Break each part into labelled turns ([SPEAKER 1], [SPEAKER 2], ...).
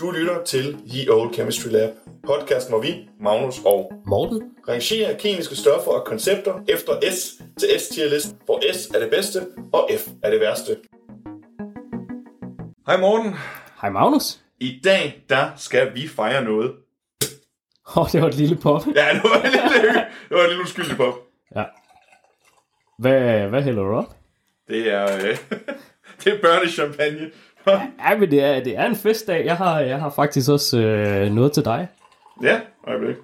[SPEAKER 1] Du lytter til The Old Chemistry Lab, podcast hvor vi, Magnus og
[SPEAKER 2] Morten?
[SPEAKER 1] rangerer kemiske stoffer og koncepter efter S til S-tierlisten, hvor S er det bedste og F er det værste. Hej Morten.
[SPEAKER 2] Hej Magnus.
[SPEAKER 1] I dag, der skal vi fejre noget.
[SPEAKER 2] Åh, oh, det var et lille pop.
[SPEAKER 1] Ja, det var en lille, det var en lille uskyldig pop.
[SPEAKER 2] Ja. Hvad, hvad hælder du op?
[SPEAKER 1] Det er, øh, det er børnechampagne.
[SPEAKER 2] Ja, men det er, det er en festdag. Jeg har, jeg har faktisk også øh, noget til dig.
[SPEAKER 1] ja, øjeblik.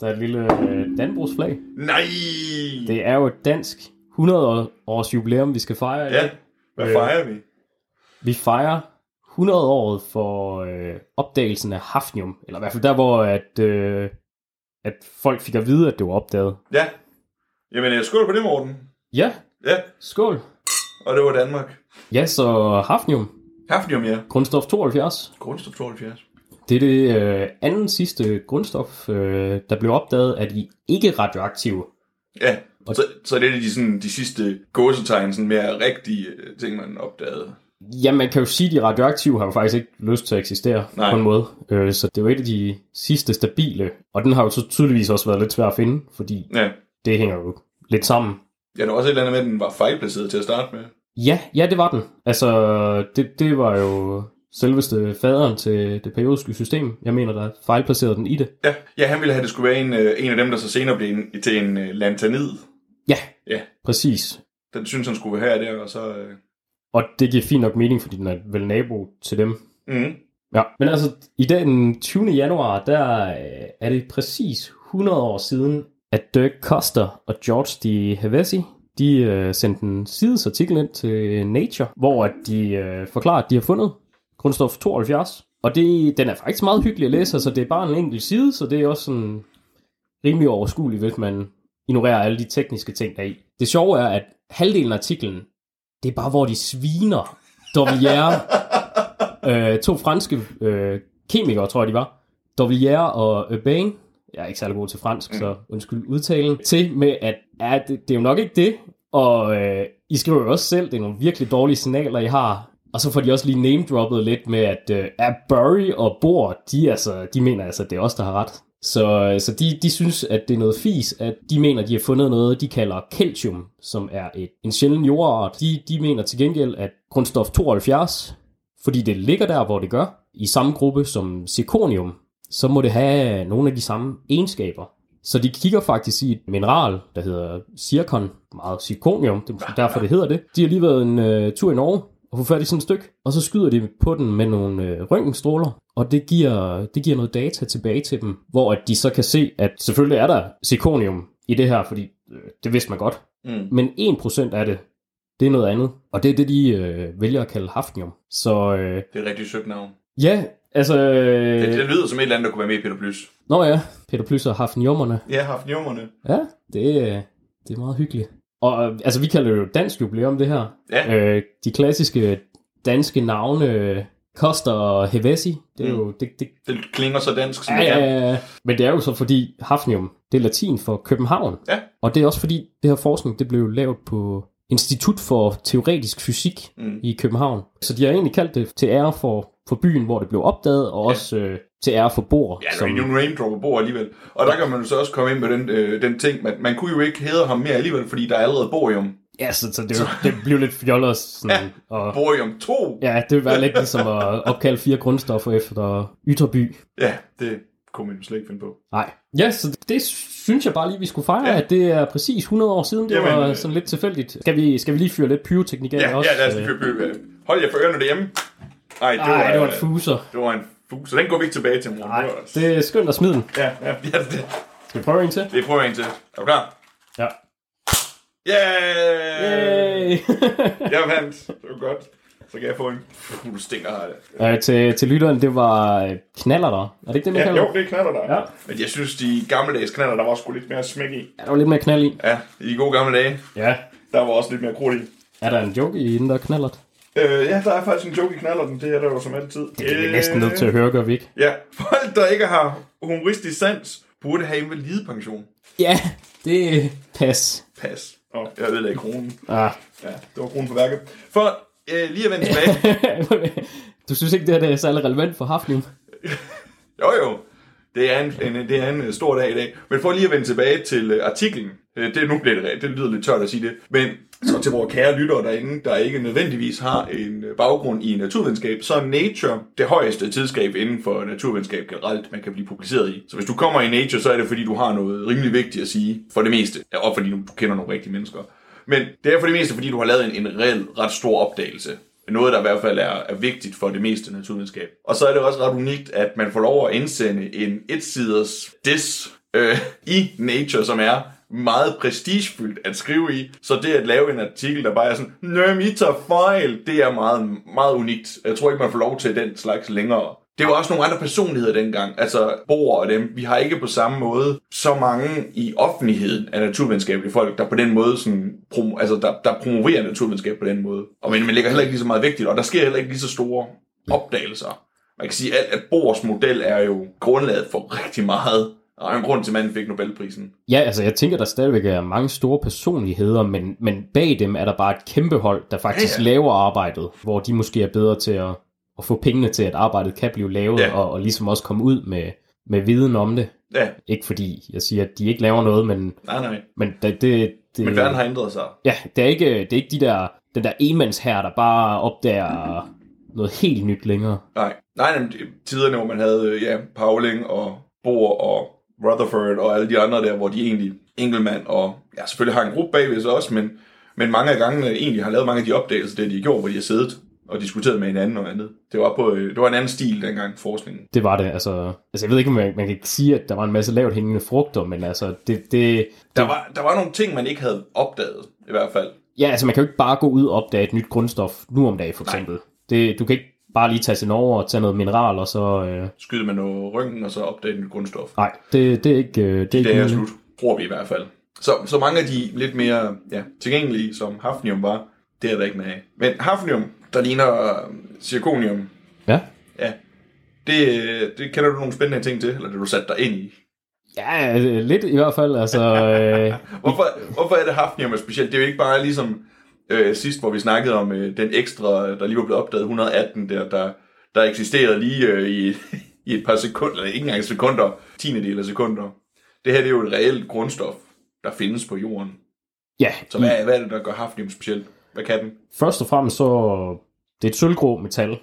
[SPEAKER 2] Der er et lille øh, Danbrugsflag.
[SPEAKER 1] Nej!
[SPEAKER 2] Det er jo et dansk 100 års jubilæum, vi skal fejre. i
[SPEAKER 1] Ja,
[SPEAKER 2] dag.
[SPEAKER 1] hvad
[SPEAKER 2] Øh.
[SPEAKER 1] fejrer vi?
[SPEAKER 2] Vi fejrer 100 året for øh, opdagelsen af hafnium. Eller i hvert fald der, hvor at, øh, at folk fik at vide, at det var opdaget.
[SPEAKER 1] Ja. Jamen, øh, skål på det, Morten.
[SPEAKER 2] Ja,
[SPEAKER 1] Ja,
[SPEAKER 2] skål.
[SPEAKER 1] og det var Danmark.
[SPEAKER 2] Ja, så hafnium,
[SPEAKER 1] Hafnium, ja.
[SPEAKER 2] grundstof 72.
[SPEAKER 1] Grundstof 72.
[SPEAKER 2] Det er det øh, anden sidste grundstof, øh, der blev opdaget af de ikke radioaktive.
[SPEAKER 1] Ja,
[SPEAKER 2] Og-
[SPEAKER 1] så, så det er de, sådan, de sidste gåsetegn, sådan mere rigtige øh, ting, man opdagede.
[SPEAKER 2] Ja, man kan jo sige, at de radioaktive har jo faktisk ikke lyst til at eksistere
[SPEAKER 1] Nej.
[SPEAKER 2] Nej. på en måde. Øh, så det var et af de sidste stabile, og den har jo så tydeligvis også været lidt svær at finde, fordi
[SPEAKER 1] Ja.
[SPEAKER 2] det hænger jo lidt sammen.
[SPEAKER 1] Ja, der var også et eller andet med, at den var fejlplaceret til at starte med.
[SPEAKER 2] Ja, ja, det var den. Altså, det, det var jo selveste faderen til det periodiske system. Jeg mener, der fejlplacerede den i det.
[SPEAKER 1] Ja, ja han ville have, at det skulle være en, øh, en af dem, der så senere blev en, til en øh, lantanid.
[SPEAKER 2] Ja,
[SPEAKER 1] Ja.
[SPEAKER 2] præcis.
[SPEAKER 1] Den synes, han skulle være her og der, og så... Øh...
[SPEAKER 2] Og det giver fint nok mening, fordi den er vel nabo til dem.
[SPEAKER 1] Mm.
[SPEAKER 2] Ja, men altså i dag den 20. januar, der øh, er det præcis 100 år siden, at Dirk Koster og George D. Havasi, de øh, sendte en sidesartikel ind til øh, Nature, hvor at de øh, forklarer, at de har fundet grundstof 72. Og det, den er faktisk meget hyggelig at læse, altså det er bare en enkelt side, så det er også sådan rimelig overskueligt, hvis man ignorerer alle de tekniske ting der er i. Det sjove er, at halvdelen af artiklen, det er bare, hvor de sviner Dovier øh, to franske øh, kemikere, tror jeg de var, Dovillier og Urbain, jeg er ikke særlig god til fransk, mm. så undskyld udtalen, til med, at ja, det, det er jo nok ikke det, og øh, I skriver jo også selv, det er nogle virkelig dårlige signaler, I har, og så får de også lige name-droppet lidt med, at øh, at Burry og Bohr, de, er altså, de mener altså, at det er os, der har ret. Så, øh, så de, de synes, at det er noget fis, at de mener, at de har fundet noget, de kalder calcium, som er et, en sjælden jordart. De, de mener til gengæld, at grundstof 72, fordi det ligger der, hvor det gør, i samme gruppe som zirconium, så må det have nogle af de samme egenskaber. Så de kigger faktisk i et mineral, der hedder zirkon, meget zirconium, det er måske derfor, det hedder det. De har lige været en øh, tur i Norge og får fat i sådan et stykke, og så skyder de på den med nogle øh, røntgenstråler, og det giver, det giver noget data tilbage til dem, hvor at de så kan se, at selvfølgelig er der zirconium i det her, fordi øh, det vidste man godt,
[SPEAKER 1] Mm.
[SPEAKER 2] men 1% af det, det er noget andet, og det er det, de øh, vælger at kalde hafnium. Så øh,
[SPEAKER 1] Det er et rigtig sødt navn.
[SPEAKER 2] Ja, altså... Øh...
[SPEAKER 1] Det, det, lyder som et eller andet, der kunne være med i Peter Plys.
[SPEAKER 2] Nå ja, Peter Plys og Hafniummerne.
[SPEAKER 1] Ja, hafniumerne.
[SPEAKER 2] Ja, det, øh, det er meget hyggeligt. Og øh, altså, vi kalder det jo dansk jubilæum, det her.
[SPEAKER 1] Ja.
[SPEAKER 2] Øh, de klassiske danske navne, øh, Koster og Hevesi, det er
[SPEAKER 1] Mm.
[SPEAKER 2] jo... Det, det,
[SPEAKER 1] Det klinger så dansk, som
[SPEAKER 2] ja,
[SPEAKER 1] det
[SPEAKER 2] ja,
[SPEAKER 1] kan.
[SPEAKER 2] ja, ja. Men det er jo så fordi Hafnium, det er latin for København.
[SPEAKER 1] Ja.
[SPEAKER 2] Og det er også fordi, det her forskning, det blev lavet på Institut for Teoretisk Fysik
[SPEAKER 1] Mm.
[SPEAKER 2] i København. Så de har egentlig kaldt det til ære for, for byen, hvor det blev opdaget, og også øh, til ære for Bor.
[SPEAKER 1] Ja, som... nu raindropper bor alligevel. Og der kan man jo så også komme ind med den, øh, den ting, man, man kunne jo ikke hæde ham mere alligevel, fordi der er allerede borium.
[SPEAKER 2] Ja, så, så det, det blev lidt fjollet. Sådan, ja. Og,
[SPEAKER 1] Borium 2! Ja,
[SPEAKER 2] ja, det ville være lidt ligesom at opkalde fire grundstoffer efter Ytterby.
[SPEAKER 1] ja det kunne man jo slet ikke finde på.
[SPEAKER 2] Nej. Ja, så det synes jeg bare lige, vi skulle fejre,
[SPEAKER 1] Ja.
[SPEAKER 2] ja. at det er præcis 100 år siden. Det Jamen,
[SPEAKER 1] Jamen,
[SPEAKER 2] var
[SPEAKER 1] øh.
[SPEAKER 2] sådan lidt tilfældigt. Skal vi, skal vi lige fyre lidt pyroteknik af
[SPEAKER 1] Ja, ja,
[SPEAKER 2] også?
[SPEAKER 1] lad os lige fyre by- øh, Hold jer for ørerne derhjemme. Ej, det,
[SPEAKER 2] Nej, det var en
[SPEAKER 1] øh,
[SPEAKER 2] fuser.
[SPEAKER 1] Det var en fu. Så den går vi ikke tilbage til, morgen.
[SPEAKER 2] Nej, det er skønt at smide den.
[SPEAKER 1] Ja, ja, ja det,
[SPEAKER 2] Skal vi prøve en til?
[SPEAKER 1] det prøver jeg en til. Er du klar?
[SPEAKER 2] Ja.
[SPEAKER 1] Yeah!
[SPEAKER 2] Yay!
[SPEAKER 1] Jeg vandt. Det var godt. Så kan jeg få en... Uh, du stinker her. det.
[SPEAKER 2] øh, til, til lytteren, det var øh, knaller der. Er det ikke det, man
[SPEAKER 1] Ja,
[SPEAKER 2] kalder
[SPEAKER 1] jo,
[SPEAKER 2] det?
[SPEAKER 1] det knaller der.
[SPEAKER 2] Ja.
[SPEAKER 1] Men jeg synes, de gammeldags knaller, der var sgu lidt mere smæk i.
[SPEAKER 2] Ja, der var lidt mere knald i.
[SPEAKER 1] Ja, i de gode gamle dage,
[SPEAKER 2] Ja.
[SPEAKER 1] der var også lidt mere krudt i.
[SPEAKER 2] Er der en joke i den, der er knallert?
[SPEAKER 1] Øh, ja, der er faktisk en joke i knallerten, det er der jo som altid.
[SPEAKER 2] Det er vi næsten nødt til at høre, gør vi ikke?
[SPEAKER 1] Ja, folk, der ikke har humoristisk sans, burde have invalide pension.
[SPEAKER 2] Ja, det pas.
[SPEAKER 1] Pas. Og jeg ødelagde kronen.
[SPEAKER 2] Ah.
[SPEAKER 1] Ja, det var kronen på værket. For øh, lige at vende tilbage.
[SPEAKER 2] Du synes ikke, det her det er særlig relevant for Hafnium?
[SPEAKER 1] Jo jo, det er en, en, det er en øh, stor dag i dag. Men for lige at vende tilbage til øh, artiklen, øh, det, nu bliver det, det lyder lidt tørt at sige det, men så til vores kære lyttere derinde, der ikke nødvendigvis har en øh, baggrund i naturvidenskab, så er Nature det højeste tidsskab inden for naturvidenskab generelt, man kan blive publiceret i. Så hvis du kommer i Nature, så er det fordi, du har noget rimelig vigtigt at sige, for det meste, og fordi du kender nogle rigtige mennesker. Men det er for det meste, fordi du har lavet en, en reelt ret stor opdagelse. Noget, der i hvert fald er, er vigtigt for det meste naturvidenskab. Og så er det også ret unikt, at man får lov at indsende en etsiders diss øh, i Nature, som er meget prestigefyldt at skrive i. Så det at lave en artikel, der bare er sådan, Nøm, I tager fejl, det er meget, meget unikt. Jeg tror ikke, man får lov til den slags længere. Det var også nogle andre personligheder dengang, altså Boer og dem. Vi har ikke på samme måde så mange i offentligheden af naturvidenskabelige folk, der på den måde sådan, prom- altså der, der promoverer naturvidenskab på den måde. Og men man lægger heller ikke lige så meget vigtigt, og der sker heller ikke lige så store opdagelser. Man kan sige, at, at Boers model er jo grundlaget for rigtig meget, og er en grund til, at manden fik Nobelprisen.
[SPEAKER 2] Ja, altså jeg tænker, der stadigvæk er mange store personligheder, men, men bag dem er der bare et kæmpe hold, der faktisk
[SPEAKER 1] Ja,
[SPEAKER 2] ja, ja. laver arbejdet, hvor de måske er bedre til at, at få pengene til, at arbejdet kan blive lavet,
[SPEAKER 1] Ja.
[SPEAKER 2] ja. og, og ligesom også komme ud med, med viden om det.
[SPEAKER 1] Ja,
[SPEAKER 2] Ikke fordi jeg siger, at de ikke laver noget, men,
[SPEAKER 1] nej, nej.
[SPEAKER 2] men det, det, det,
[SPEAKER 1] Men verden har ændret sig.
[SPEAKER 2] ja, det, er ikke, det er ikke de der, den der enmandsherre, der bare opdager noget helt nyt længere.
[SPEAKER 1] Nej, nej, nej men tiderne, hvor man havde øh, ja, Pauling og Bohr og Rutherford og alle de andre der, hvor de egentlig enkeltmand og ja, selvfølgelig har en gruppe bagved sig også, men, men mange af gangene egentlig har lavet mange af de opdagelser, det de gjorde, hvor de har siddet og diskuteret med hinanden og andet. Det var, på, øh, det var en anden stil dengang, forskningen.
[SPEAKER 2] Det var det, altså, altså jeg ved ikke, om man, man kan sige, at der var en masse lavt hængende frugter, men altså, det, det,
[SPEAKER 1] Der var, der var nogle ting, man ikke havde opdaget, i hvert fald.
[SPEAKER 2] Ja, altså man kan jo ikke bare gå ud og opdage et nyt grundstof nu om dagen, for eksempel. Det, du kan ikke bare lige tage til Norge og tage noget mineral, og så... Øh,
[SPEAKER 1] Skyde man noget røntgen og så opdagede nyt grundstof.
[SPEAKER 2] nej, det, det er ikke... Øh, det er
[SPEAKER 1] Det
[SPEAKER 2] ikke
[SPEAKER 1] er
[SPEAKER 2] muligt.
[SPEAKER 1] slut, tror vi i hvert fald. Så, så mange af de lidt mere ja, tilgængelige, som hafnium var, det er der ikke med af. Men hafnium, der ligner øh, zirconium,
[SPEAKER 2] Ja.
[SPEAKER 1] ja, det, øh, det kender du nogle spændende ting til, eller det du sat dig ind i.
[SPEAKER 2] ja, øh, lidt i hvert fald, altså... Øh,
[SPEAKER 1] Hvorfor, hvorfor er det hafnium er specielt? Det er jo ikke bare ligesom øh, sidst, hvor vi snakkede om øh, den ekstra, der lige var blevet opdaget, 118, der, der, der eksisterede lige øh, i, i et par sekunder, eller ikke engang sekunder, tiende del af sekunder. Det her det er jo et reelt grundstof, der findes på jorden.
[SPEAKER 2] ja,
[SPEAKER 1] Så hvad, hvad er det, der gør hafnium specielt? Hvad kan den?
[SPEAKER 2] først og fremmest så... Det er et sølvgrå metal.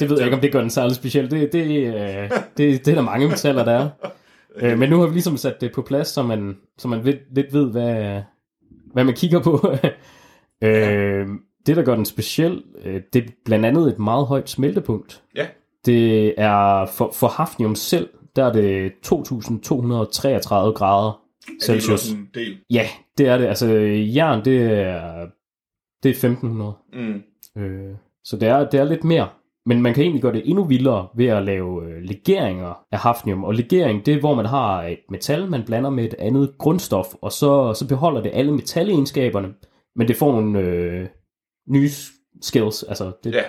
[SPEAKER 2] Det ved jeg ikke, om det gør den særlig speciel. Det, det, øh, det, det er der mange metaller, der er. Øh, men nu har vi ligesom sat det på plads, så man, så man lidt, lidt ved, hvad, hvad man kigger på. øh, det, der gør den speciel, øh, det er blandt andet et meget højt smeltepunkt.
[SPEAKER 1] Ja.
[SPEAKER 2] Det er for, for hafnium selv, der er det 2.233 grader
[SPEAKER 1] Er det ikke
[SPEAKER 2] Celsius.
[SPEAKER 1] også en del?
[SPEAKER 2] Ja, det er det. Altså, jern, det er, det er 1500.
[SPEAKER 1] Mm.
[SPEAKER 2] Øh, så det er, det er lidt mere. Men man kan egentlig gøre det endnu vildere ved at lave øh, legeringer af hafnium. Og legering, det er, hvor man har et metal, man blander med et andet grundstof, og så, så beholder det alle metalenskaberne, men det får nogle øh, nye skills. Altså, det,
[SPEAKER 1] Ja.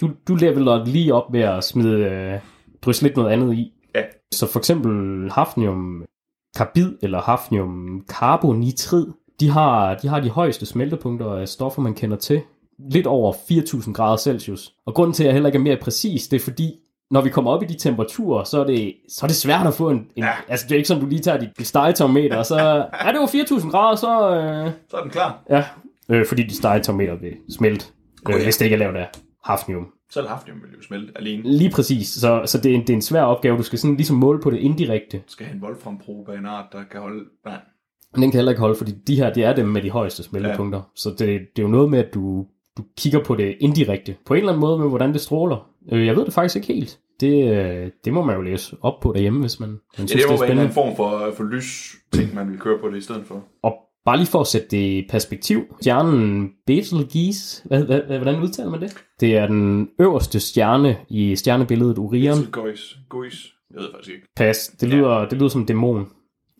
[SPEAKER 2] du, du leveler lige op ved at smide, øh, drysse lidt noget andet i.
[SPEAKER 1] Ja.
[SPEAKER 2] Så for eksempel hafnium karbid eller hafnium carbonitrid, de har, de har de højeste smeltepunkter af stoffer, man kender til. Lidt over 4000 grader Celsius. Og grunden til, at jeg heller ikke er mere præcis, det er fordi, når vi kommer op i de temperaturer, så er det, så er det svært at få en... en ja. Altså, det er ikke sådan, du lige tager dit stegetermometer, og så... Ja, det var 4000 grader, så... Øh,
[SPEAKER 1] Så er den klar.
[SPEAKER 2] ja, øh, fordi dit stegetermometer vil smelte, øh, hvis det ikke er lavet af hafnium.
[SPEAKER 1] Selv hafnium vil jo smelte alene. Du
[SPEAKER 2] Lige præcis. Så, så det, er en, det er en svær opgave. Du skal sådan ligesom måle på det indirekte.
[SPEAKER 1] skal have en wolframprobe af en art, der kan holde... Nej.
[SPEAKER 2] Men den kan heller ikke holde, fordi de her, det er dem med de højeste smeltepunkter. Ja. Så det, det er jo noget med, at du, du kigger på det indirekte. På en eller anden måde med, hvordan det stråler. Øh, jeg ved det faktisk ikke helt. Det, øh, det må man jo læse op på derhjemme, hvis man, man synes,
[SPEAKER 1] Ja, det
[SPEAKER 2] det
[SPEAKER 1] må
[SPEAKER 2] er
[SPEAKER 1] være en eller anden
[SPEAKER 2] spændende.
[SPEAKER 1] form for, for lys ting, man vil køre på det i stedet for.
[SPEAKER 2] Og bare lige for at sætte det i perspektiv. Stjernen Betelgeuse, hvad, hvad, hvad, hvordan udtaler man det? Det er den øverste stjerne i stjernebilledet Orion.
[SPEAKER 1] Til Gøjs. Gøjs. Jeg ved faktisk ikke.
[SPEAKER 2] Pas, det lyder, det lyder som en dæmon.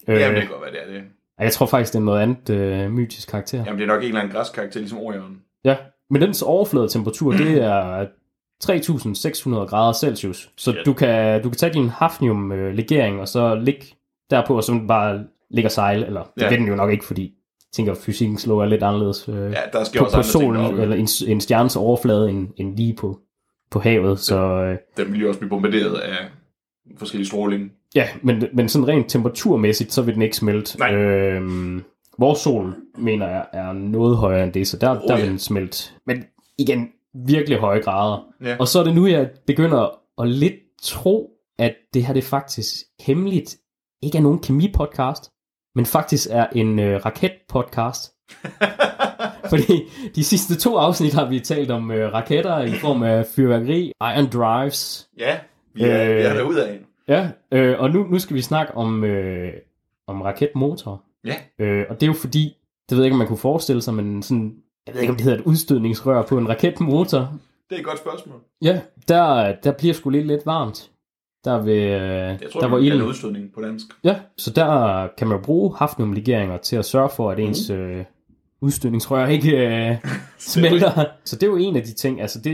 [SPEAKER 1] Øh. Jamen, det kan godt være, det er det.
[SPEAKER 2] Ej, Jeg tror faktisk, det er noget andet øh, mytisk karakter. Ja.
[SPEAKER 1] Jamen, det er nok en eller anden græskarakter, ligesom Orion.
[SPEAKER 2] ja. Men dens overfladetemperatur, det er 3600 grader Celsius. Så
[SPEAKER 1] Shit.
[SPEAKER 2] du kan, du kan tage din hafnium-legering, og så ligge derpå, og så den bare ligger sejl. Eller det
[SPEAKER 1] Ja.
[SPEAKER 2] ja. ved den jo nok ikke, fordi jeg tænker, at fysikkens lov er lidt anderledes øh, ja,
[SPEAKER 1] Ja, der sker
[SPEAKER 2] på,
[SPEAKER 1] også
[SPEAKER 2] på
[SPEAKER 1] andre ting
[SPEAKER 2] solen,
[SPEAKER 1] deroppe.
[SPEAKER 2] eller en, en stjernes overflade, end, end lige på på havet, så øh,
[SPEAKER 1] Den ville jo også blive bombarderet af forskellige stråling.
[SPEAKER 2] ja, men, men sådan rent temperaturmæssigt, så vil den ikke smelte.
[SPEAKER 1] Nej.
[SPEAKER 2] Øhm, vores sol, mener jeg, er noget højere end det, så der, oh, der
[SPEAKER 1] ja.
[SPEAKER 2] vil den smelte. Men igen, virkelig høje grader.
[SPEAKER 1] Ja.
[SPEAKER 2] Og så er det nu, jeg begynder at lidt tro, at det her det faktisk hemmeligt ikke er nogen kemi-podcast, men faktisk er en øh, raket-podcast. Fordi de sidste to afsnit har vi talt om øh, raketter i form af fyrværkeri, iron drives.
[SPEAKER 1] Ja, vi er, øh... vi er
[SPEAKER 2] Øh.
[SPEAKER 1] derude af.
[SPEAKER 2] Ja, øh, og nu, nu skal vi snakke om, øh, om raketmotor.
[SPEAKER 1] Ja.
[SPEAKER 2] Øh, og det er jo fordi, det ved jeg ikke, om man kunne forestille sig, men sådan, jeg ved ikke, om det hedder et udstødningsrør på en raketmotor.
[SPEAKER 1] Det er et godt spørgsmål.
[SPEAKER 2] Ja, der, der bliver sgu lidt, lidt varmt. Der, ved, øh,
[SPEAKER 1] Jeg tror,
[SPEAKER 2] der
[SPEAKER 1] det
[SPEAKER 2] var
[SPEAKER 1] var en
[SPEAKER 2] ilden.
[SPEAKER 1] udstødning på dansk.
[SPEAKER 2] Ja, så der kan man jo bruge hafniumlegeringer til at sørge for, at ens
[SPEAKER 1] Mhm.
[SPEAKER 2] øh, udstødningsrør ikke øh, smelter. Så det er jo en af de ting, altså det,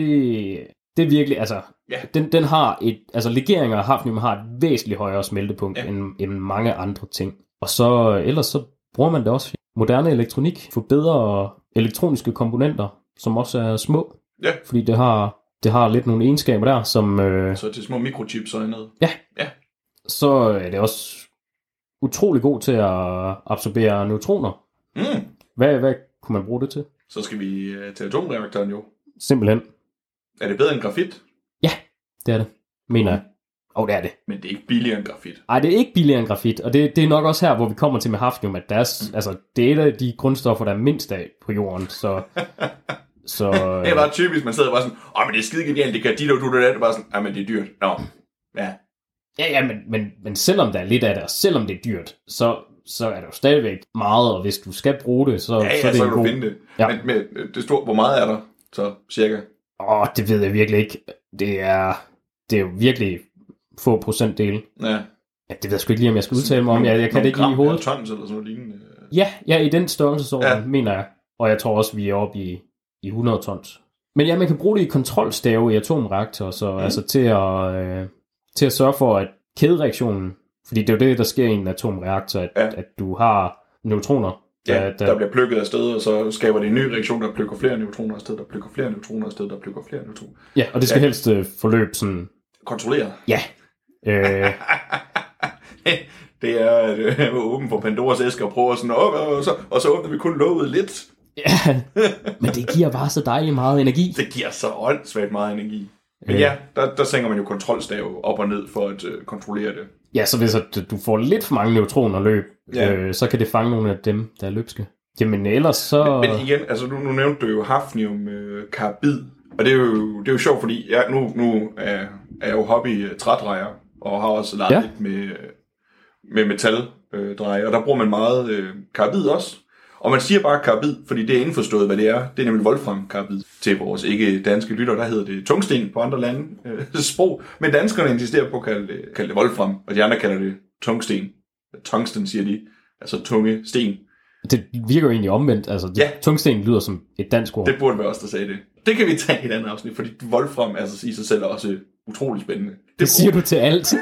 [SPEAKER 2] det er virkelig, altså,
[SPEAKER 1] Ja.
[SPEAKER 2] den, den har et, altså legeringer af hafnium har et væsentligt højere smeltepunkt
[SPEAKER 1] Ja.
[SPEAKER 2] ja. end, end mange andre ting. Og så, ellers så bruger man det også i moderne elektronik, for bedre elektroniske komponenter, som også er små.
[SPEAKER 1] Ja.
[SPEAKER 2] Fordi det har, det har lidt nogle egenskaber der, som, øh,
[SPEAKER 1] Så til små mikrochips og andet.
[SPEAKER 2] så er det også utrolig god til at absorbere neutroner.
[SPEAKER 1] Mm.
[SPEAKER 2] Hvad, hvad kunne man bruge det til?
[SPEAKER 1] Så skal vi øh, til atomreaktoren jo.
[SPEAKER 2] Simpelthen,
[SPEAKER 1] Er det bedre end grafit?
[SPEAKER 2] det er det, mener jeg. Åh, oh, det er det.
[SPEAKER 1] Men det er ikke billigere end grafit.
[SPEAKER 2] Ej, det er ikke billigere end grafit, og det, det er nok også her, hvor vi kommer til med hafnium, at deres, mm. altså, det er et af de grundstoffer, der er mindst af på jorden, så... så øh,
[SPEAKER 1] Det er bare typisk, man sidder bare sådan, åh, men det er skide genialt, det kan dit og du det er bare sådan, ja, men det er dyrt. Nå, ja.
[SPEAKER 2] ja, ja, men, men, men selvom der er lidt af det, og selvom det er dyrt, så, så er der jo stadigvæk meget, og hvis du skal bruge det, så,
[SPEAKER 1] Ja, ja,
[SPEAKER 2] så er det
[SPEAKER 1] så
[SPEAKER 2] en
[SPEAKER 1] kan
[SPEAKER 2] god...
[SPEAKER 1] du finde det.
[SPEAKER 2] Ja.
[SPEAKER 1] Men, men øh, det store, hvor meget er der? Så cirka.
[SPEAKER 2] Åh, oh, det ved jeg virkelig ikke. Det er, det er jo virkelig få procentdele.
[SPEAKER 1] Ja.
[SPEAKER 2] Ja, det ved jeg sgu ikke lige, om jeg skal udtale mig om. Jeg, jeg kan det ikke lige i hovedet.
[SPEAKER 1] Tons eller sådan noget lignende.
[SPEAKER 2] Ja, ja, i den størrelsesorden,
[SPEAKER 1] Ja.
[SPEAKER 2] ja. mener jeg. Og jeg tror også, vi er oppe i, i 100 tons. Men ja, man kan bruge det i kontrolstave i atomreaktorer, så
[SPEAKER 1] Mhm.
[SPEAKER 2] mm. altså til at, øh, til at sørge for, at kædereaktionen, fordi det er jo det, der sker i en atomreaktor, at,
[SPEAKER 1] Ja.
[SPEAKER 2] ja. at du har neutroner,
[SPEAKER 1] Ja,
[SPEAKER 2] der,
[SPEAKER 1] der,
[SPEAKER 2] der,
[SPEAKER 1] bliver plukket af sted, og så skaber det en ny reaktion, der plukker flere neutroner af sted, der plukker flere neutroner af sted, der plukker flere neutroner.
[SPEAKER 2] ja, og det skal ja. helst øh, forløbe sådan,
[SPEAKER 1] Kontrolleret.
[SPEAKER 2] ja, øh,
[SPEAKER 1] det er øh, åben for Pandoras æske og prøver sådan, op, og, så, og så åbner vi kun låget lidt.
[SPEAKER 2] ja, men det giver bare så dejligt meget energi.
[SPEAKER 1] Det giver så åndssvagt meget energi. Men
[SPEAKER 2] Øh.
[SPEAKER 1] ja, der, der sænker man jo kontrolstave op og ned for at øh, kontrollere det.
[SPEAKER 2] Ja, så hvis at du får lidt for mange neutroner løb,
[SPEAKER 1] Ja.
[SPEAKER 2] ja. øh, så kan det fange nogle af dem, der er løbske. Jamen ellers så...
[SPEAKER 1] Men igen, altså nu, nu nævnte du jo hafnium øh, karbid, og det er jo, det er jo sjovt, fordi jeg, nu, nu er, er jeg jo hobby øh, trædrejer, og har også leget ja.
[SPEAKER 2] Ja.
[SPEAKER 1] lidt med, øh, med metaldrejer, øh, drejer, og der bruger man meget øh, karbid også. Og man siger bare karbid, fordi det er indforstået, hvad det er. Det er nemlig wolfram karbid. Til vores ikke danske lytter, der hedder det tungsten på andre lande øh, sprog. Men danskerne insisterer på at kalde det, kalde det wolfram, og de andre kalder det tungsten. Tungsten siger de, altså tunge sten.
[SPEAKER 2] Det virker jo egentlig omvendt. Altså, det,
[SPEAKER 1] Ja.
[SPEAKER 2] ja. tungsten lyder som et dansk ord. Det...
[SPEAKER 1] Det burde være os, der sagde det. Det kan vi tage i et andet afsnit, fordi Wolfram er så i sig selv også utrolig spændende. Det,
[SPEAKER 2] det siger du til alt.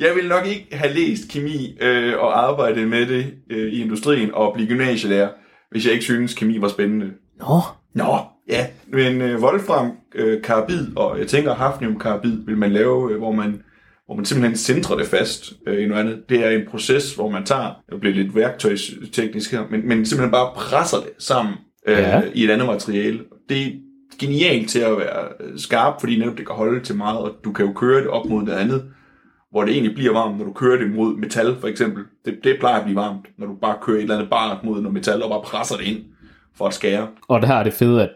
[SPEAKER 1] Jeg ville nok ikke have læst kemi øh, og arbejdet med det øh, i industrien og blive gymnasielærer, hvis jeg ikke synes kemi var spændende.
[SPEAKER 2] Nå,
[SPEAKER 1] Nå, ja. Men øh, Wolfram øh, karbid, og jeg tænker hafnium karbid, vil man lave, øh, hvor man hvor man simpelthen centrer det fast øh, i noget andet. Det er en proces, hvor man tager, det bliver lidt værktøjsteknisk her, men, men simpelthen bare presser det sammen øh, ja.
[SPEAKER 2] Ja.
[SPEAKER 1] i et andet materiale. Det er genialt til at være øh, skarp, fordi netop det kan holde til meget, og du kan jo køre det op mod det andet, hvor det egentlig bliver varmt, når du kører det mod metal, for eksempel. Det, det plejer at blive varmt, når du bare kører et eller andet bart mod noget metal, og bare presser det ind for at skære.
[SPEAKER 2] og det her er det fede, at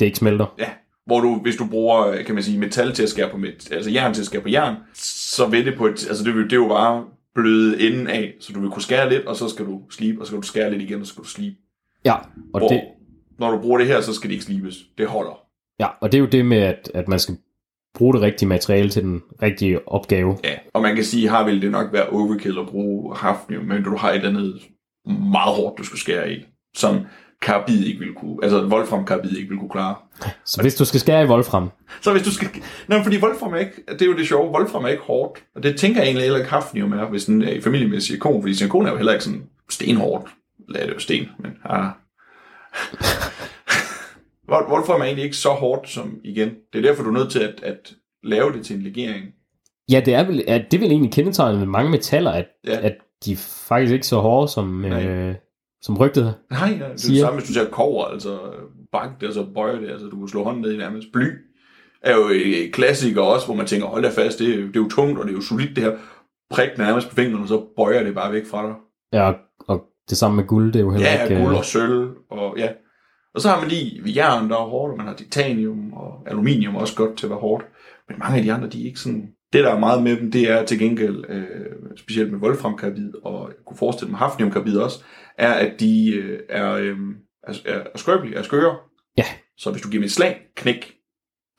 [SPEAKER 2] det ikke smelter.
[SPEAKER 1] Ja, hvor du, hvis du bruger, øh, kan man sige, metal til at skære på metal, altså jern til at skære på jern, så vil det på et, altså det vil det er jo bare bløde enden af, så du vil kunne skære lidt, og så skal du slibe, og så skal du skære lidt igen, og så skal du slibe.
[SPEAKER 2] Ja, og,
[SPEAKER 1] Hvor,
[SPEAKER 2] det,
[SPEAKER 1] det... når du bruger det her, så skal det ikke slibes. Det holder.
[SPEAKER 2] ja, og det er jo det med, at, at man skal bruge det rigtige materiale til den rigtige opgave.
[SPEAKER 1] Ja. Og man kan sige, her vil det nok være overkill at bruge hafnium, men du har et eller andet meget hårdt, du skal skære i, som karbid ikke vil kunne, altså wolfram karbid ikke vil kunne klare.
[SPEAKER 2] Så hvis du skal skære i wolfram,
[SPEAKER 1] Så hvis du skal... Nå, men fordi Wolfram er ikke... Det er jo det sjove. Wolfram er ikke hårdt. Og det tænker jeg egentlig heller ikke hafnium er, hvis den er i familie med silikon. Fordi silikon er jo heller ikke sådan stenhårdt. Lad det jo sten, men... Ah. Hvor, hvorfor er man egentlig ikke så hårdt som igen? Det er derfor, du er nødt til at, at lave det til en legering.
[SPEAKER 2] Ja, det er vel, at det er vel egentlig kendetegnet ved mange metaller, at,
[SPEAKER 1] Ja.
[SPEAKER 2] ja. at de er faktisk ikke så hårde, som,
[SPEAKER 1] Nej.
[SPEAKER 2] øh, som rygtet.
[SPEAKER 1] Nej, det er det
[SPEAKER 2] Siger-
[SPEAKER 1] samme, hvis du tager kover, altså bank det, og så bøjer det, altså du kan slå hånden ned i nærmest. Bly er jo et klassiker også, hvor man tænker, hold da fast, det, det er jo tungt, og det er jo solidt det her. Prik nærmest på fingrene, og så bøjer det bare væk fra dig.
[SPEAKER 2] Ja, og, og det samme med guld, det er jo heller
[SPEAKER 1] Ja,
[SPEAKER 2] ikke... øh,
[SPEAKER 1] guld og sølv, og ja. Og så har man lige jern, der er hårdt, og man har titanium og aluminium også godt til at være hårdt. Men mange af de andre, de er ikke sådan... Det, der er meget med dem, det er til gengæld, øh, specielt med wolframkarbid, og jeg kunne forestille mig hafniumkarbid også, er, at de øh, er, øh, er, er skrøbelige, er skøre.
[SPEAKER 2] Ja.
[SPEAKER 1] Så hvis du giver dem et slag, knæk,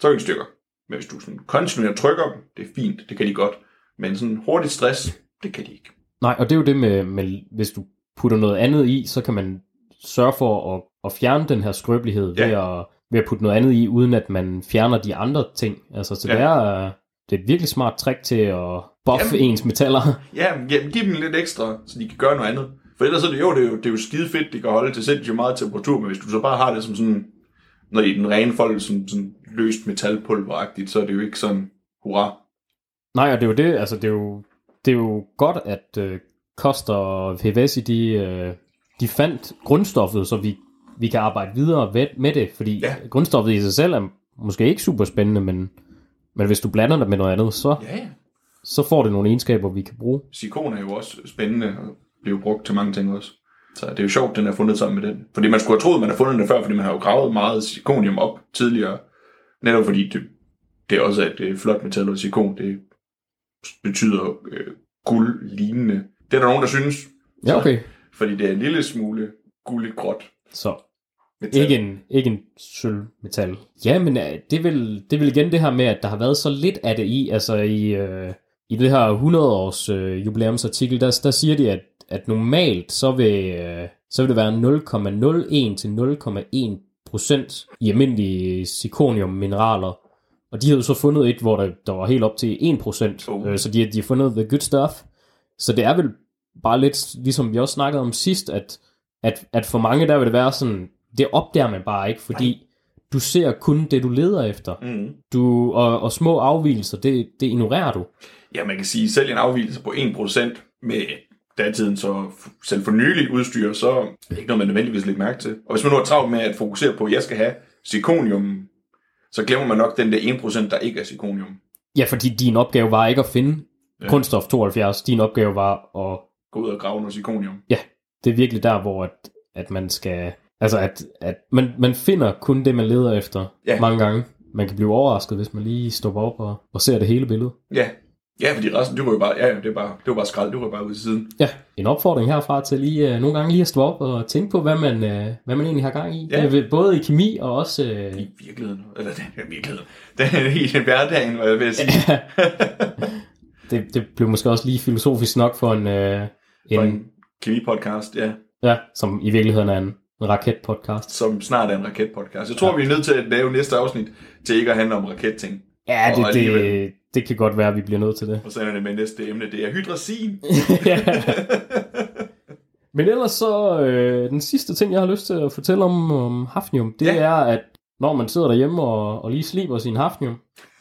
[SPEAKER 1] så er de i stykker. Men hvis du sådan kontinuerligt trykker dem, det er fint, det kan de godt. Men sådan hurtigt stress, det kan de ikke.
[SPEAKER 2] Nej, og det er jo det med, med, hvis du putter noget andet i, så kan man sørge for at, at fjerne den her skrøbelighed
[SPEAKER 1] Ja.
[SPEAKER 2] ja. ved, at, ved at putte noget andet i, uden at man fjerner de andre ting. Altså, så ja. det,
[SPEAKER 1] Ja.
[SPEAKER 2] er, øh, det er et virkelig smart trick til at buffe
[SPEAKER 1] Jamen.
[SPEAKER 2] Jamen. ens metaller.
[SPEAKER 1] Ja, men ja, giv dem lidt ekstra, så de kan gøre noget andet. For ellers er det jo, det er jo, det er jo skide fedt, det kan holde til sindssygt meget temperatur, men hvis du så bare har det som sådan, når i den rene folk, som sådan løst metalpulveragtigt, så er det jo ikke sådan, hurra.
[SPEAKER 2] Nej, og det er jo det, altså det er jo, det er jo godt, at øh, Koster og Hevesi, de, øh, de fandt grundstoffet, så vi, vi kan arbejde videre ved, med det, fordi
[SPEAKER 1] Ja.
[SPEAKER 2] ja. grundstoffet i sig selv er måske ikke super spændende, men, men hvis du blander det med noget andet, så,
[SPEAKER 1] Ja, ja.
[SPEAKER 2] så får det nogle egenskaber, vi kan bruge.
[SPEAKER 1] Sikon er jo også spændende, og bliver jo brugt til mange ting også. Så det er jo sjovt, den er fundet sammen med den. Fordi man skulle have troet, man har fundet den før, fordi man har jo gravet meget zirconium op tidligere. Netop fordi det, det er også er et øh, flot metal, og zircon, det betyder øh, guld lignende. Det er der nogen, der synes,
[SPEAKER 2] Ja, okay.
[SPEAKER 1] fordi det er en lille smule gulligt gråt.
[SPEAKER 2] Så
[SPEAKER 1] metal.
[SPEAKER 2] ikke en, ikke en sølvmetal. Ja, men øh, det er, vel, det er vel igen det her med, at der har været så lidt af det i, altså i, øh, i det her 100-års øh, jubilæumsartikel, der, der siger de, at, at normalt så vil, øh, så vil det være 0,01 til 0,1 procent i almindelige zirconium-mineraler. Og de havde jo så fundet et, hvor der, der var helt op til 1 procent.
[SPEAKER 1] Oh.
[SPEAKER 2] Øh, så de, har- de har fundet the good stuff. Så det er vel bare lidt, ligesom vi også snakkede om sidst, at, at, at for mange der vil det være sådan, det opdager man bare ikke, fordi Nej. du ser kun det, du leder efter.
[SPEAKER 1] Mm.
[SPEAKER 2] Du, og, og små afvielser, det, det ignorerer du.
[SPEAKER 1] Ja, man kan sige, selv en afvielse på 1% med datiden så f- selv for nylig udstyr, så er det ikke noget, man nødvendigvis lægger mærke til. Og hvis man nu er travlt med at fokusere på, at jeg skal have zirconium, så glemmer man nok den der 1%, der ikke er zirconium.
[SPEAKER 2] Ja, fordi din opgave var ikke at finde
[SPEAKER 1] Ja.
[SPEAKER 2] ja. grundstof 72. Din opgave var at...
[SPEAKER 1] Gå ud og grave noget zirconium.
[SPEAKER 2] Det er virkelig der, hvor at, at man skal... Altså, at, at man, man finder kun det, man leder efter
[SPEAKER 1] Ja.
[SPEAKER 2] ja. mange gange. Man kan blive overrasket, hvis man lige stopper op og, og ser det hele billede.
[SPEAKER 1] Ja, ja fordi resten, det var jo bare, ja, ja, det var bare, det var bare skrald, det var bare ude til siden.
[SPEAKER 2] Ja, en opfordring herfra til lige øh, nogle gange lige at stå op og tænke på, hvad man, øh, hvad man egentlig har gang i.
[SPEAKER 1] Ja.
[SPEAKER 2] Ja. Øh, både i kemi og også... Øh,
[SPEAKER 1] I virkeligheden, eller det er virkeligheden, det er i hverdagen, hvad jeg vil sige.
[SPEAKER 2] det, det blev måske også lige filosofisk nok for en, øh,
[SPEAKER 1] For
[SPEAKER 2] en
[SPEAKER 1] en kemi-podcast, ja.
[SPEAKER 2] ja, som i virkeligheden er en en raketpodcast.
[SPEAKER 1] som snart er en raketpodcast. Jeg tror, ja. vi er nødt til at lave næste afsnit til ikke at handle om raketting.
[SPEAKER 2] Ja,
[SPEAKER 1] Og
[SPEAKER 2] det,
[SPEAKER 1] alligevel.
[SPEAKER 2] det, det kan godt være, at vi bliver nødt til det.
[SPEAKER 1] Og så er det med næste emne, det er hydrazin.
[SPEAKER 2] Ja. Men ellers så, øh, den sidste ting, jeg har lyst til at fortælle om, om hafnium, det
[SPEAKER 1] Ja.
[SPEAKER 2] ja. er, at når man sidder derhjemme og, og lige sliber sin hafnium,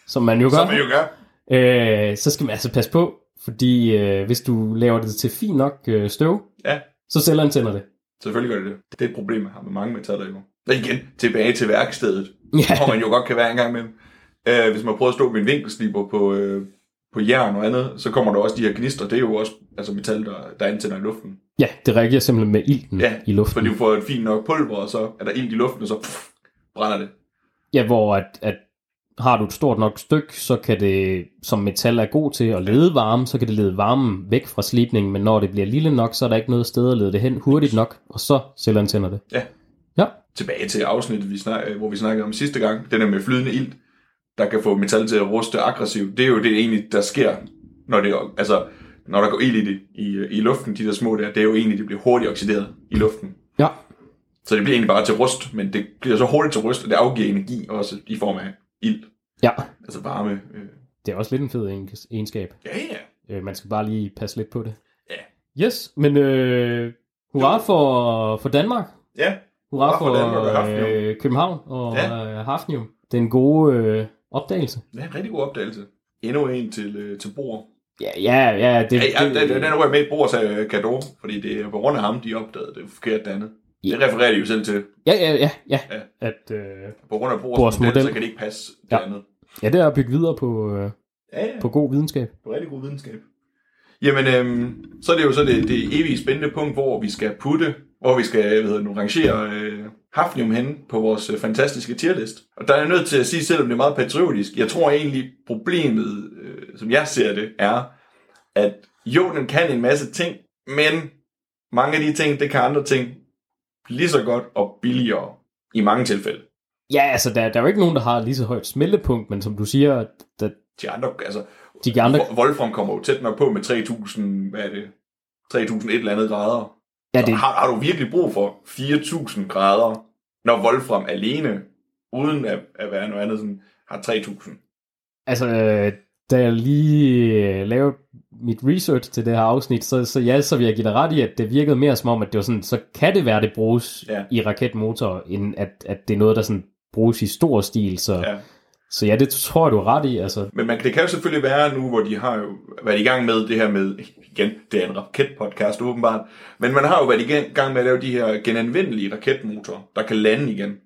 [SPEAKER 2] som man jo gør,
[SPEAKER 1] Som man jo gør.
[SPEAKER 2] Øh, så skal man altså passe på, fordi øh, hvis du laver det til fint nok øh, støv,
[SPEAKER 1] Ja.
[SPEAKER 2] så sælgeren tænder det.
[SPEAKER 1] Selvfølgelig gør det det. Det er et problem, jeg har med mange metaller jo. Og igen, tilbage til værkstedet,
[SPEAKER 2] Ja,
[SPEAKER 1] hvor man jo godt kan være en gang imellem. Øh, hvis man prøver at stå med en vinkelsliber på, øh, på jern og andet, så kommer der også de her gnister. Det er jo også altså metal, der, der antænder i luften.
[SPEAKER 2] ja det reagerer simpelthen med ilten
[SPEAKER 1] Ja,
[SPEAKER 2] ja, i luften.
[SPEAKER 1] Fordi du får et fint nok pulver, og så er der ild i luften, og så pff, brænder det.
[SPEAKER 2] Ja, hvor at, at har du et stort nok stykke, så kan det, som metal er god til at lede varme, så kan det lede varmen væk fra slipningen, men når det bliver lille nok, så er der ikke noget sted at lede det hen hurtigt nok, og så sælgeren tænder det.
[SPEAKER 1] tilbage til afsnittet, vi snak, øh, hvor vi snakkede om sidste gang, den der med flydende ilt, der kan få metal til at ruste aggressivt, det er jo det egentlig, der sker, når, det, er- altså, når der går ild i det i, øh, i luften, de der små der, det er jo egentlig, det bliver hurtigt oxideret i luften.
[SPEAKER 2] Ja.
[SPEAKER 1] Så det bliver egentlig bare til rust, men det bliver så hurtigt til rust, at det afgiver energi også i form af ild,
[SPEAKER 2] Ja,
[SPEAKER 1] altså varme. øh.
[SPEAKER 2] det er også lidt en fed egens- egenskab.
[SPEAKER 1] Ja, ja.
[SPEAKER 2] Øh, man skal bare lige passe lidt på det.
[SPEAKER 1] Ja.
[SPEAKER 2] Yes, men øh, hurra for, for Danmark.
[SPEAKER 1] Ja,
[SPEAKER 2] Hurra
[SPEAKER 1] for Danmark og
[SPEAKER 2] for
[SPEAKER 1] Hafnium.
[SPEAKER 2] øh, København og
[SPEAKER 1] Ja.
[SPEAKER 2] ja. Hafnium. Den gode øh, opdagelse.
[SPEAKER 1] Det er en rigtig god opdagelse. Endnu en til, øh, til Bor.
[SPEAKER 2] Ja, ja, ja. Det,
[SPEAKER 1] Ja, ja,
[SPEAKER 2] det,
[SPEAKER 1] den, den, den røg med i Bors af Kado, øh, fordi det er på grund af ham, de opdagede det forkerte andet.
[SPEAKER 2] Ja.
[SPEAKER 1] Det refererer de jo selv til.
[SPEAKER 2] ja, ja, ja, ja.
[SPEAKER 1] Ja.
[SPEAKER 2] At, øh,
[SPEAKER 1] På grund af Bors,
[SPEAKER 2] Bors
[SPEAKER 1] model,
[SPEAKER 2] model.
[SPEAKER 1] så kan det ikke passe det
[SPEAKER 2] Ja.
[SPEAKER 1] andet.
[SPEAKER 2] ja, det er at bygge videre på, øh,
[SPEAKER 1] Ja, ja.
[SPEAKER 2] på god videnskab.
[SPEAKER 1] på rigtig god videnskab. Jamen, øhm, så er det jo så det, det evige spændende punkt, hvor vi skal putte, hvor vi skal hvad hedder det nu, rangere øh, hafnium hen på vores øh, fantastiske tierlist. Og der er jeg nødt til at sige, selvom det er meget patriotisk, jeg tror egentlig problemet, øh, som jeg ser det, er, at jo, den kan en masse ting, men mange af de ting, det kan andre ting lige så godt og billigere i mange tilfælde.
[SPEAKER 2] Ja, altså, der, der er jo ikke nogen, der har lige så højt smeltepunkt, men som du siger, der,
[SPEAKER 1] De andre, altså,
[SPEAKER 2] de andre...
[SPEAKER 1] Vol- Wolfram kommer jo tæt nok på med 3000, hvad er det? 3000 et eller andet grader.
[SPEAKER 2] Ja,
[SPEAKER 1] Ja, det...
[SPEAKER 2] det,
[SPEAKER 1] har, har du virkelig brug for 4000 grader, når Wolfram alene, uden at, at være noget andet, sådan, har 3000?
[SPEAKER 2] Altså, øh, da jeg lige øh, lavede mit research til det her afsnit, så, så ja, så vil jeg give dig ret i, at det virkede mere som om, at det var sådan, så kan det være, det bruges
[SPEAKER 1] Ja.
[SPEAKER 2] ja. i raketmotorer, end at, at det er noget, der sådan bruges i stor stil. Så
[SPEAKER 1] Ja.
[SPEAKER 2] ja, så ja det tror jeg, du er ret i. Altså,
[SPEAKER 1] Men man, det kan jo selvfølgelig være nu, hvor de har jo været i gang med det her med, igen, det er en raketpodcast åbenbart, men man har jo været i gen- gang med at lave de her genanvendelige raketmotorer, der kan lande igen.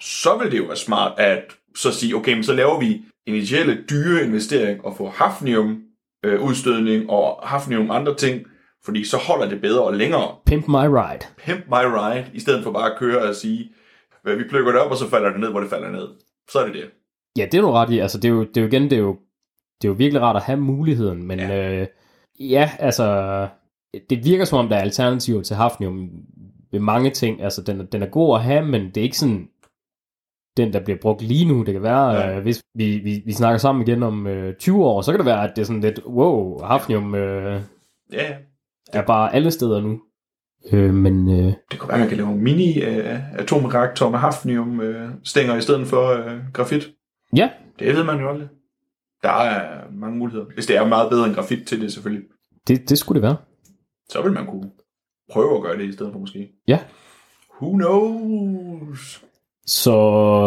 [SPEAKER 1] Så vil det jo være smart at så sige, okay, men så laver vi initielle dyre investering og får hafnium øh, udstødning og hafnium andre ting, fordi så holder det bedre og længere.
[SPEAKER 2] pimp my ride.
[SPEAKER 1] Pimp my ride, i stedet for bare at køre og sige, "Hvad, vi plukker det op, og så falder det ned, hvor det falder ned. Så er det det.
[SPEAKER 2] Ja, det er du ret i. Altså, det er jo, det er jo igen, det er jo, det er jo virkelig rart at have muligheden, men ja, øh, ja altså, det virker som om, der er alternativer til hafnium ved mange ting. Altså, den, er- den er god at have, men det er ikke sådan den, der bliver brugt lige nu. Det kan være,
[SPEAKER 1] Ja.
[SPEAKER 2] ja. øh, hvis vi, vi, vi snakker sammen igen om øh, 20 år, så kan det være, at det er sådan lidt, wow, hafnium øh,
[SPEAKER 1] Ja, ja.
[SPEAKER 2] er bare alle steder nu. Øh, men øh,
[SPEAKER 1] Det kunne være, man kan lave en mini-atomreaktor med hafnium-stænger i stedet for øh, grafit.
[SPEAKER 2] ja,
[SPEAKER 1] Det ved man jo aldrig. Der er øh, mange muligheder. Hvis det er meget bedre end grafit til det selvfølgelig,
[SPEAKER 2] det, det skulle det være.
[SPEAKER 1] så vil man kunne prøve at gøre det i stedet for måske.
[SPEAKER 2] Ja.
[SPEAKER 1] Who knows?
[SPEAKER 2] Så...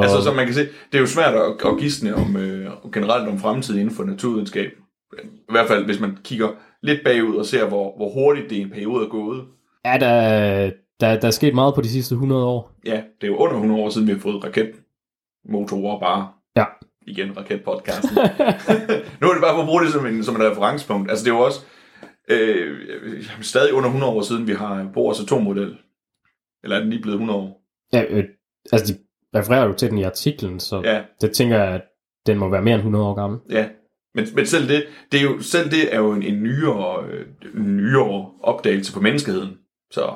[SPEAKER 1] Altså, som man kan se, det er jo svært at, at gisne om, øh, generelt om fremtiden inden for naturvidenskab. I hvert fald, hvis man kigger lidt bagud og ser, hvor, hvor hurtigt det i en periode er gået.
[SPEAKER 2] Ja, der, der, der er sket meget på de sidste 100 år.
[SPEAKER 1] Ja, det er jo under 100 år siden, vi har fået raketmotorer bare.
[SPEAKER 2] Ja.
[SPEAKER 1] Igen, raketpodcasten. nu er det bare for at bruge det som, en, som et referencepunkt. Altså, det er jo også øh, jamen, stadig under 100 år siden, vi har Bohrs atommodel. Eller er den lige blevet 100 år?
[SPEAKER 2] Ja, øh, altså, de refererer jo til den i artiklen, så ja.
[SPEAKER 1] Ja,
[SPEAKER 2] det tænker jeg, at den må være mere end 100 år gammel.
[SPEAKER 1] ja. Men, men selv, det, det er jo, selv det er jo en, en nyere, øh, nyere opdagelse på menneskeheden. Så.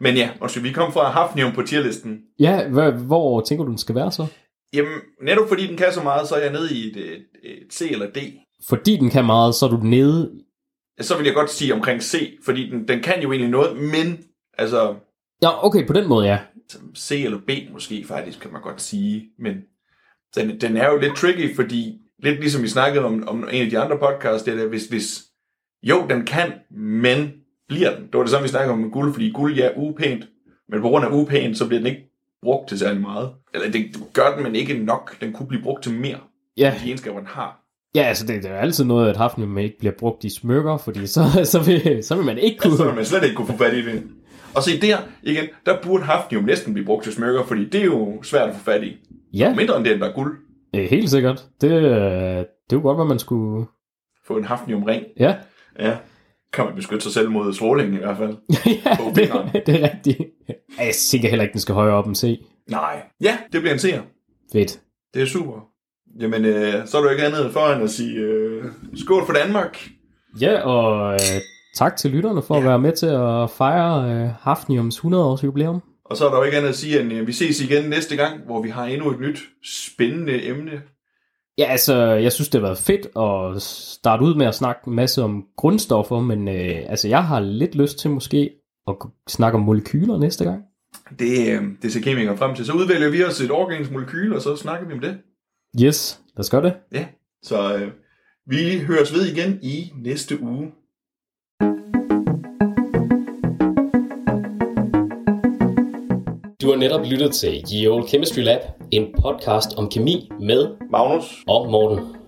[SPEAKER 1] Men ja, undskyld, vi kom fra Hafnium på tierlisten.
[SPEAKER 2] Ja, hvor, hvor tænker du, den skal være så?
[SPEAKER 1] Jamen, netop fordi den kan så meget, så er jeg nede i et, et, et C eller D.
[SPEAKER 2] Fordi den kan meget, så er du nede...
[SPEAKER 1] så vil jeg godt sige omkring C, fordi den, den kan jo egentlig noget, men altså
[SPEAKER 2] Ja, okay, på den måde, ja.
[SPEAKER 1] C eller B måske faktisk, kan man godt sige, men den, den er jo lidt tricky, fordi lidt ligesom vi snakkede om, om en af de andre podcasts, det er der, hvis, hvis jo, den kan, men bliver den. Det var det samme, vi snakkede om med guld, fordi guld, ja, upænt, men på grund af upænt, så bliver den ikke brugt til særlig meget. Eller det gør den, men ikke nok. Den kunne blive brugt til mere,
[SPEAKER 2] Ja,
[SPEAKER 1] de egenskaber, den har.
[SPEAKER 2] ja altså, det, det er altid noget, at hafnium ikke bliver brugt i smykker, fordi så, så, vil, så vil man ikke
[SPEAKER 1] Altså, Så ville
[SPEAKER 2] kunne...
[SPEAKER 1] man slet ikke kunne få fat i det. Og se der, igen, der burde hafnium næsten blive brugt til smykker, fordi det er jo svært at få fat i.
[SPEAKER 2] Ja,
[SPEAKER 1] Mindre end den, der er guld.
[SPEAKER 2] øh, helt sikkert. Det, øh, det er jo godt, hvad man skulle...
[SPEAKER 1] Få en hafniumring.
[SPEAKER 2] Ja,
[SPEAKER 1] Ja. Kan man beskytte sig selv mod stråling i hvert fald.
[SPEAKER 2] ja
[SPEAKER 1] På
[SPEAKER 2] det,
[SPEAKER 1] fingeren.
[SPEAKER 2] det er rigtigt. Ja, Jeg tænker heller ikke, den skal højere op end C.
[SPEAKER 1] Nej. Ja, det bliver en seer.
[SPEAKER 2] Fedt.
[SPEAKER 1] Det er super. Jamen, øh, så er du ikke andet for end at sige øh, skål for Danmark.
[SPEAKER 2] Ja, og øh, tak til lytterne for ja. at være med til at fejre øh, Hafniums 100-års jubilæum.
[SPEAKER 1] Og så er der jo ikke andet at sige, end øh, vi ses igen næste gang, hvor vi har endnu et nyt spændende emne.
[SPEAKER 2] Ja, altså, jeg synes, det har været fedt at starte ud med at snakke en masse om grundstoffer, men øh, altså, jeg har lidt lyst til måske at k- snakke om molekyler næste gang.
[SPEAKER 1] Det, øh, det ser kemikere frem til. Så udvælger vi os et organisk molekyle, og så snakker vi om det.
[SPEAKER 2] Yes, lad os gøre det.
[SPEAKER 1] Så øh, vi høres ved igen i næste uge.
[SPEAKER 2] Du Du har netop lyttet til Ye Old Chemistry Lab, en podcast om kemi med
[SPEAKER 1] Magnus,
[SPEAKER 2] og Morten.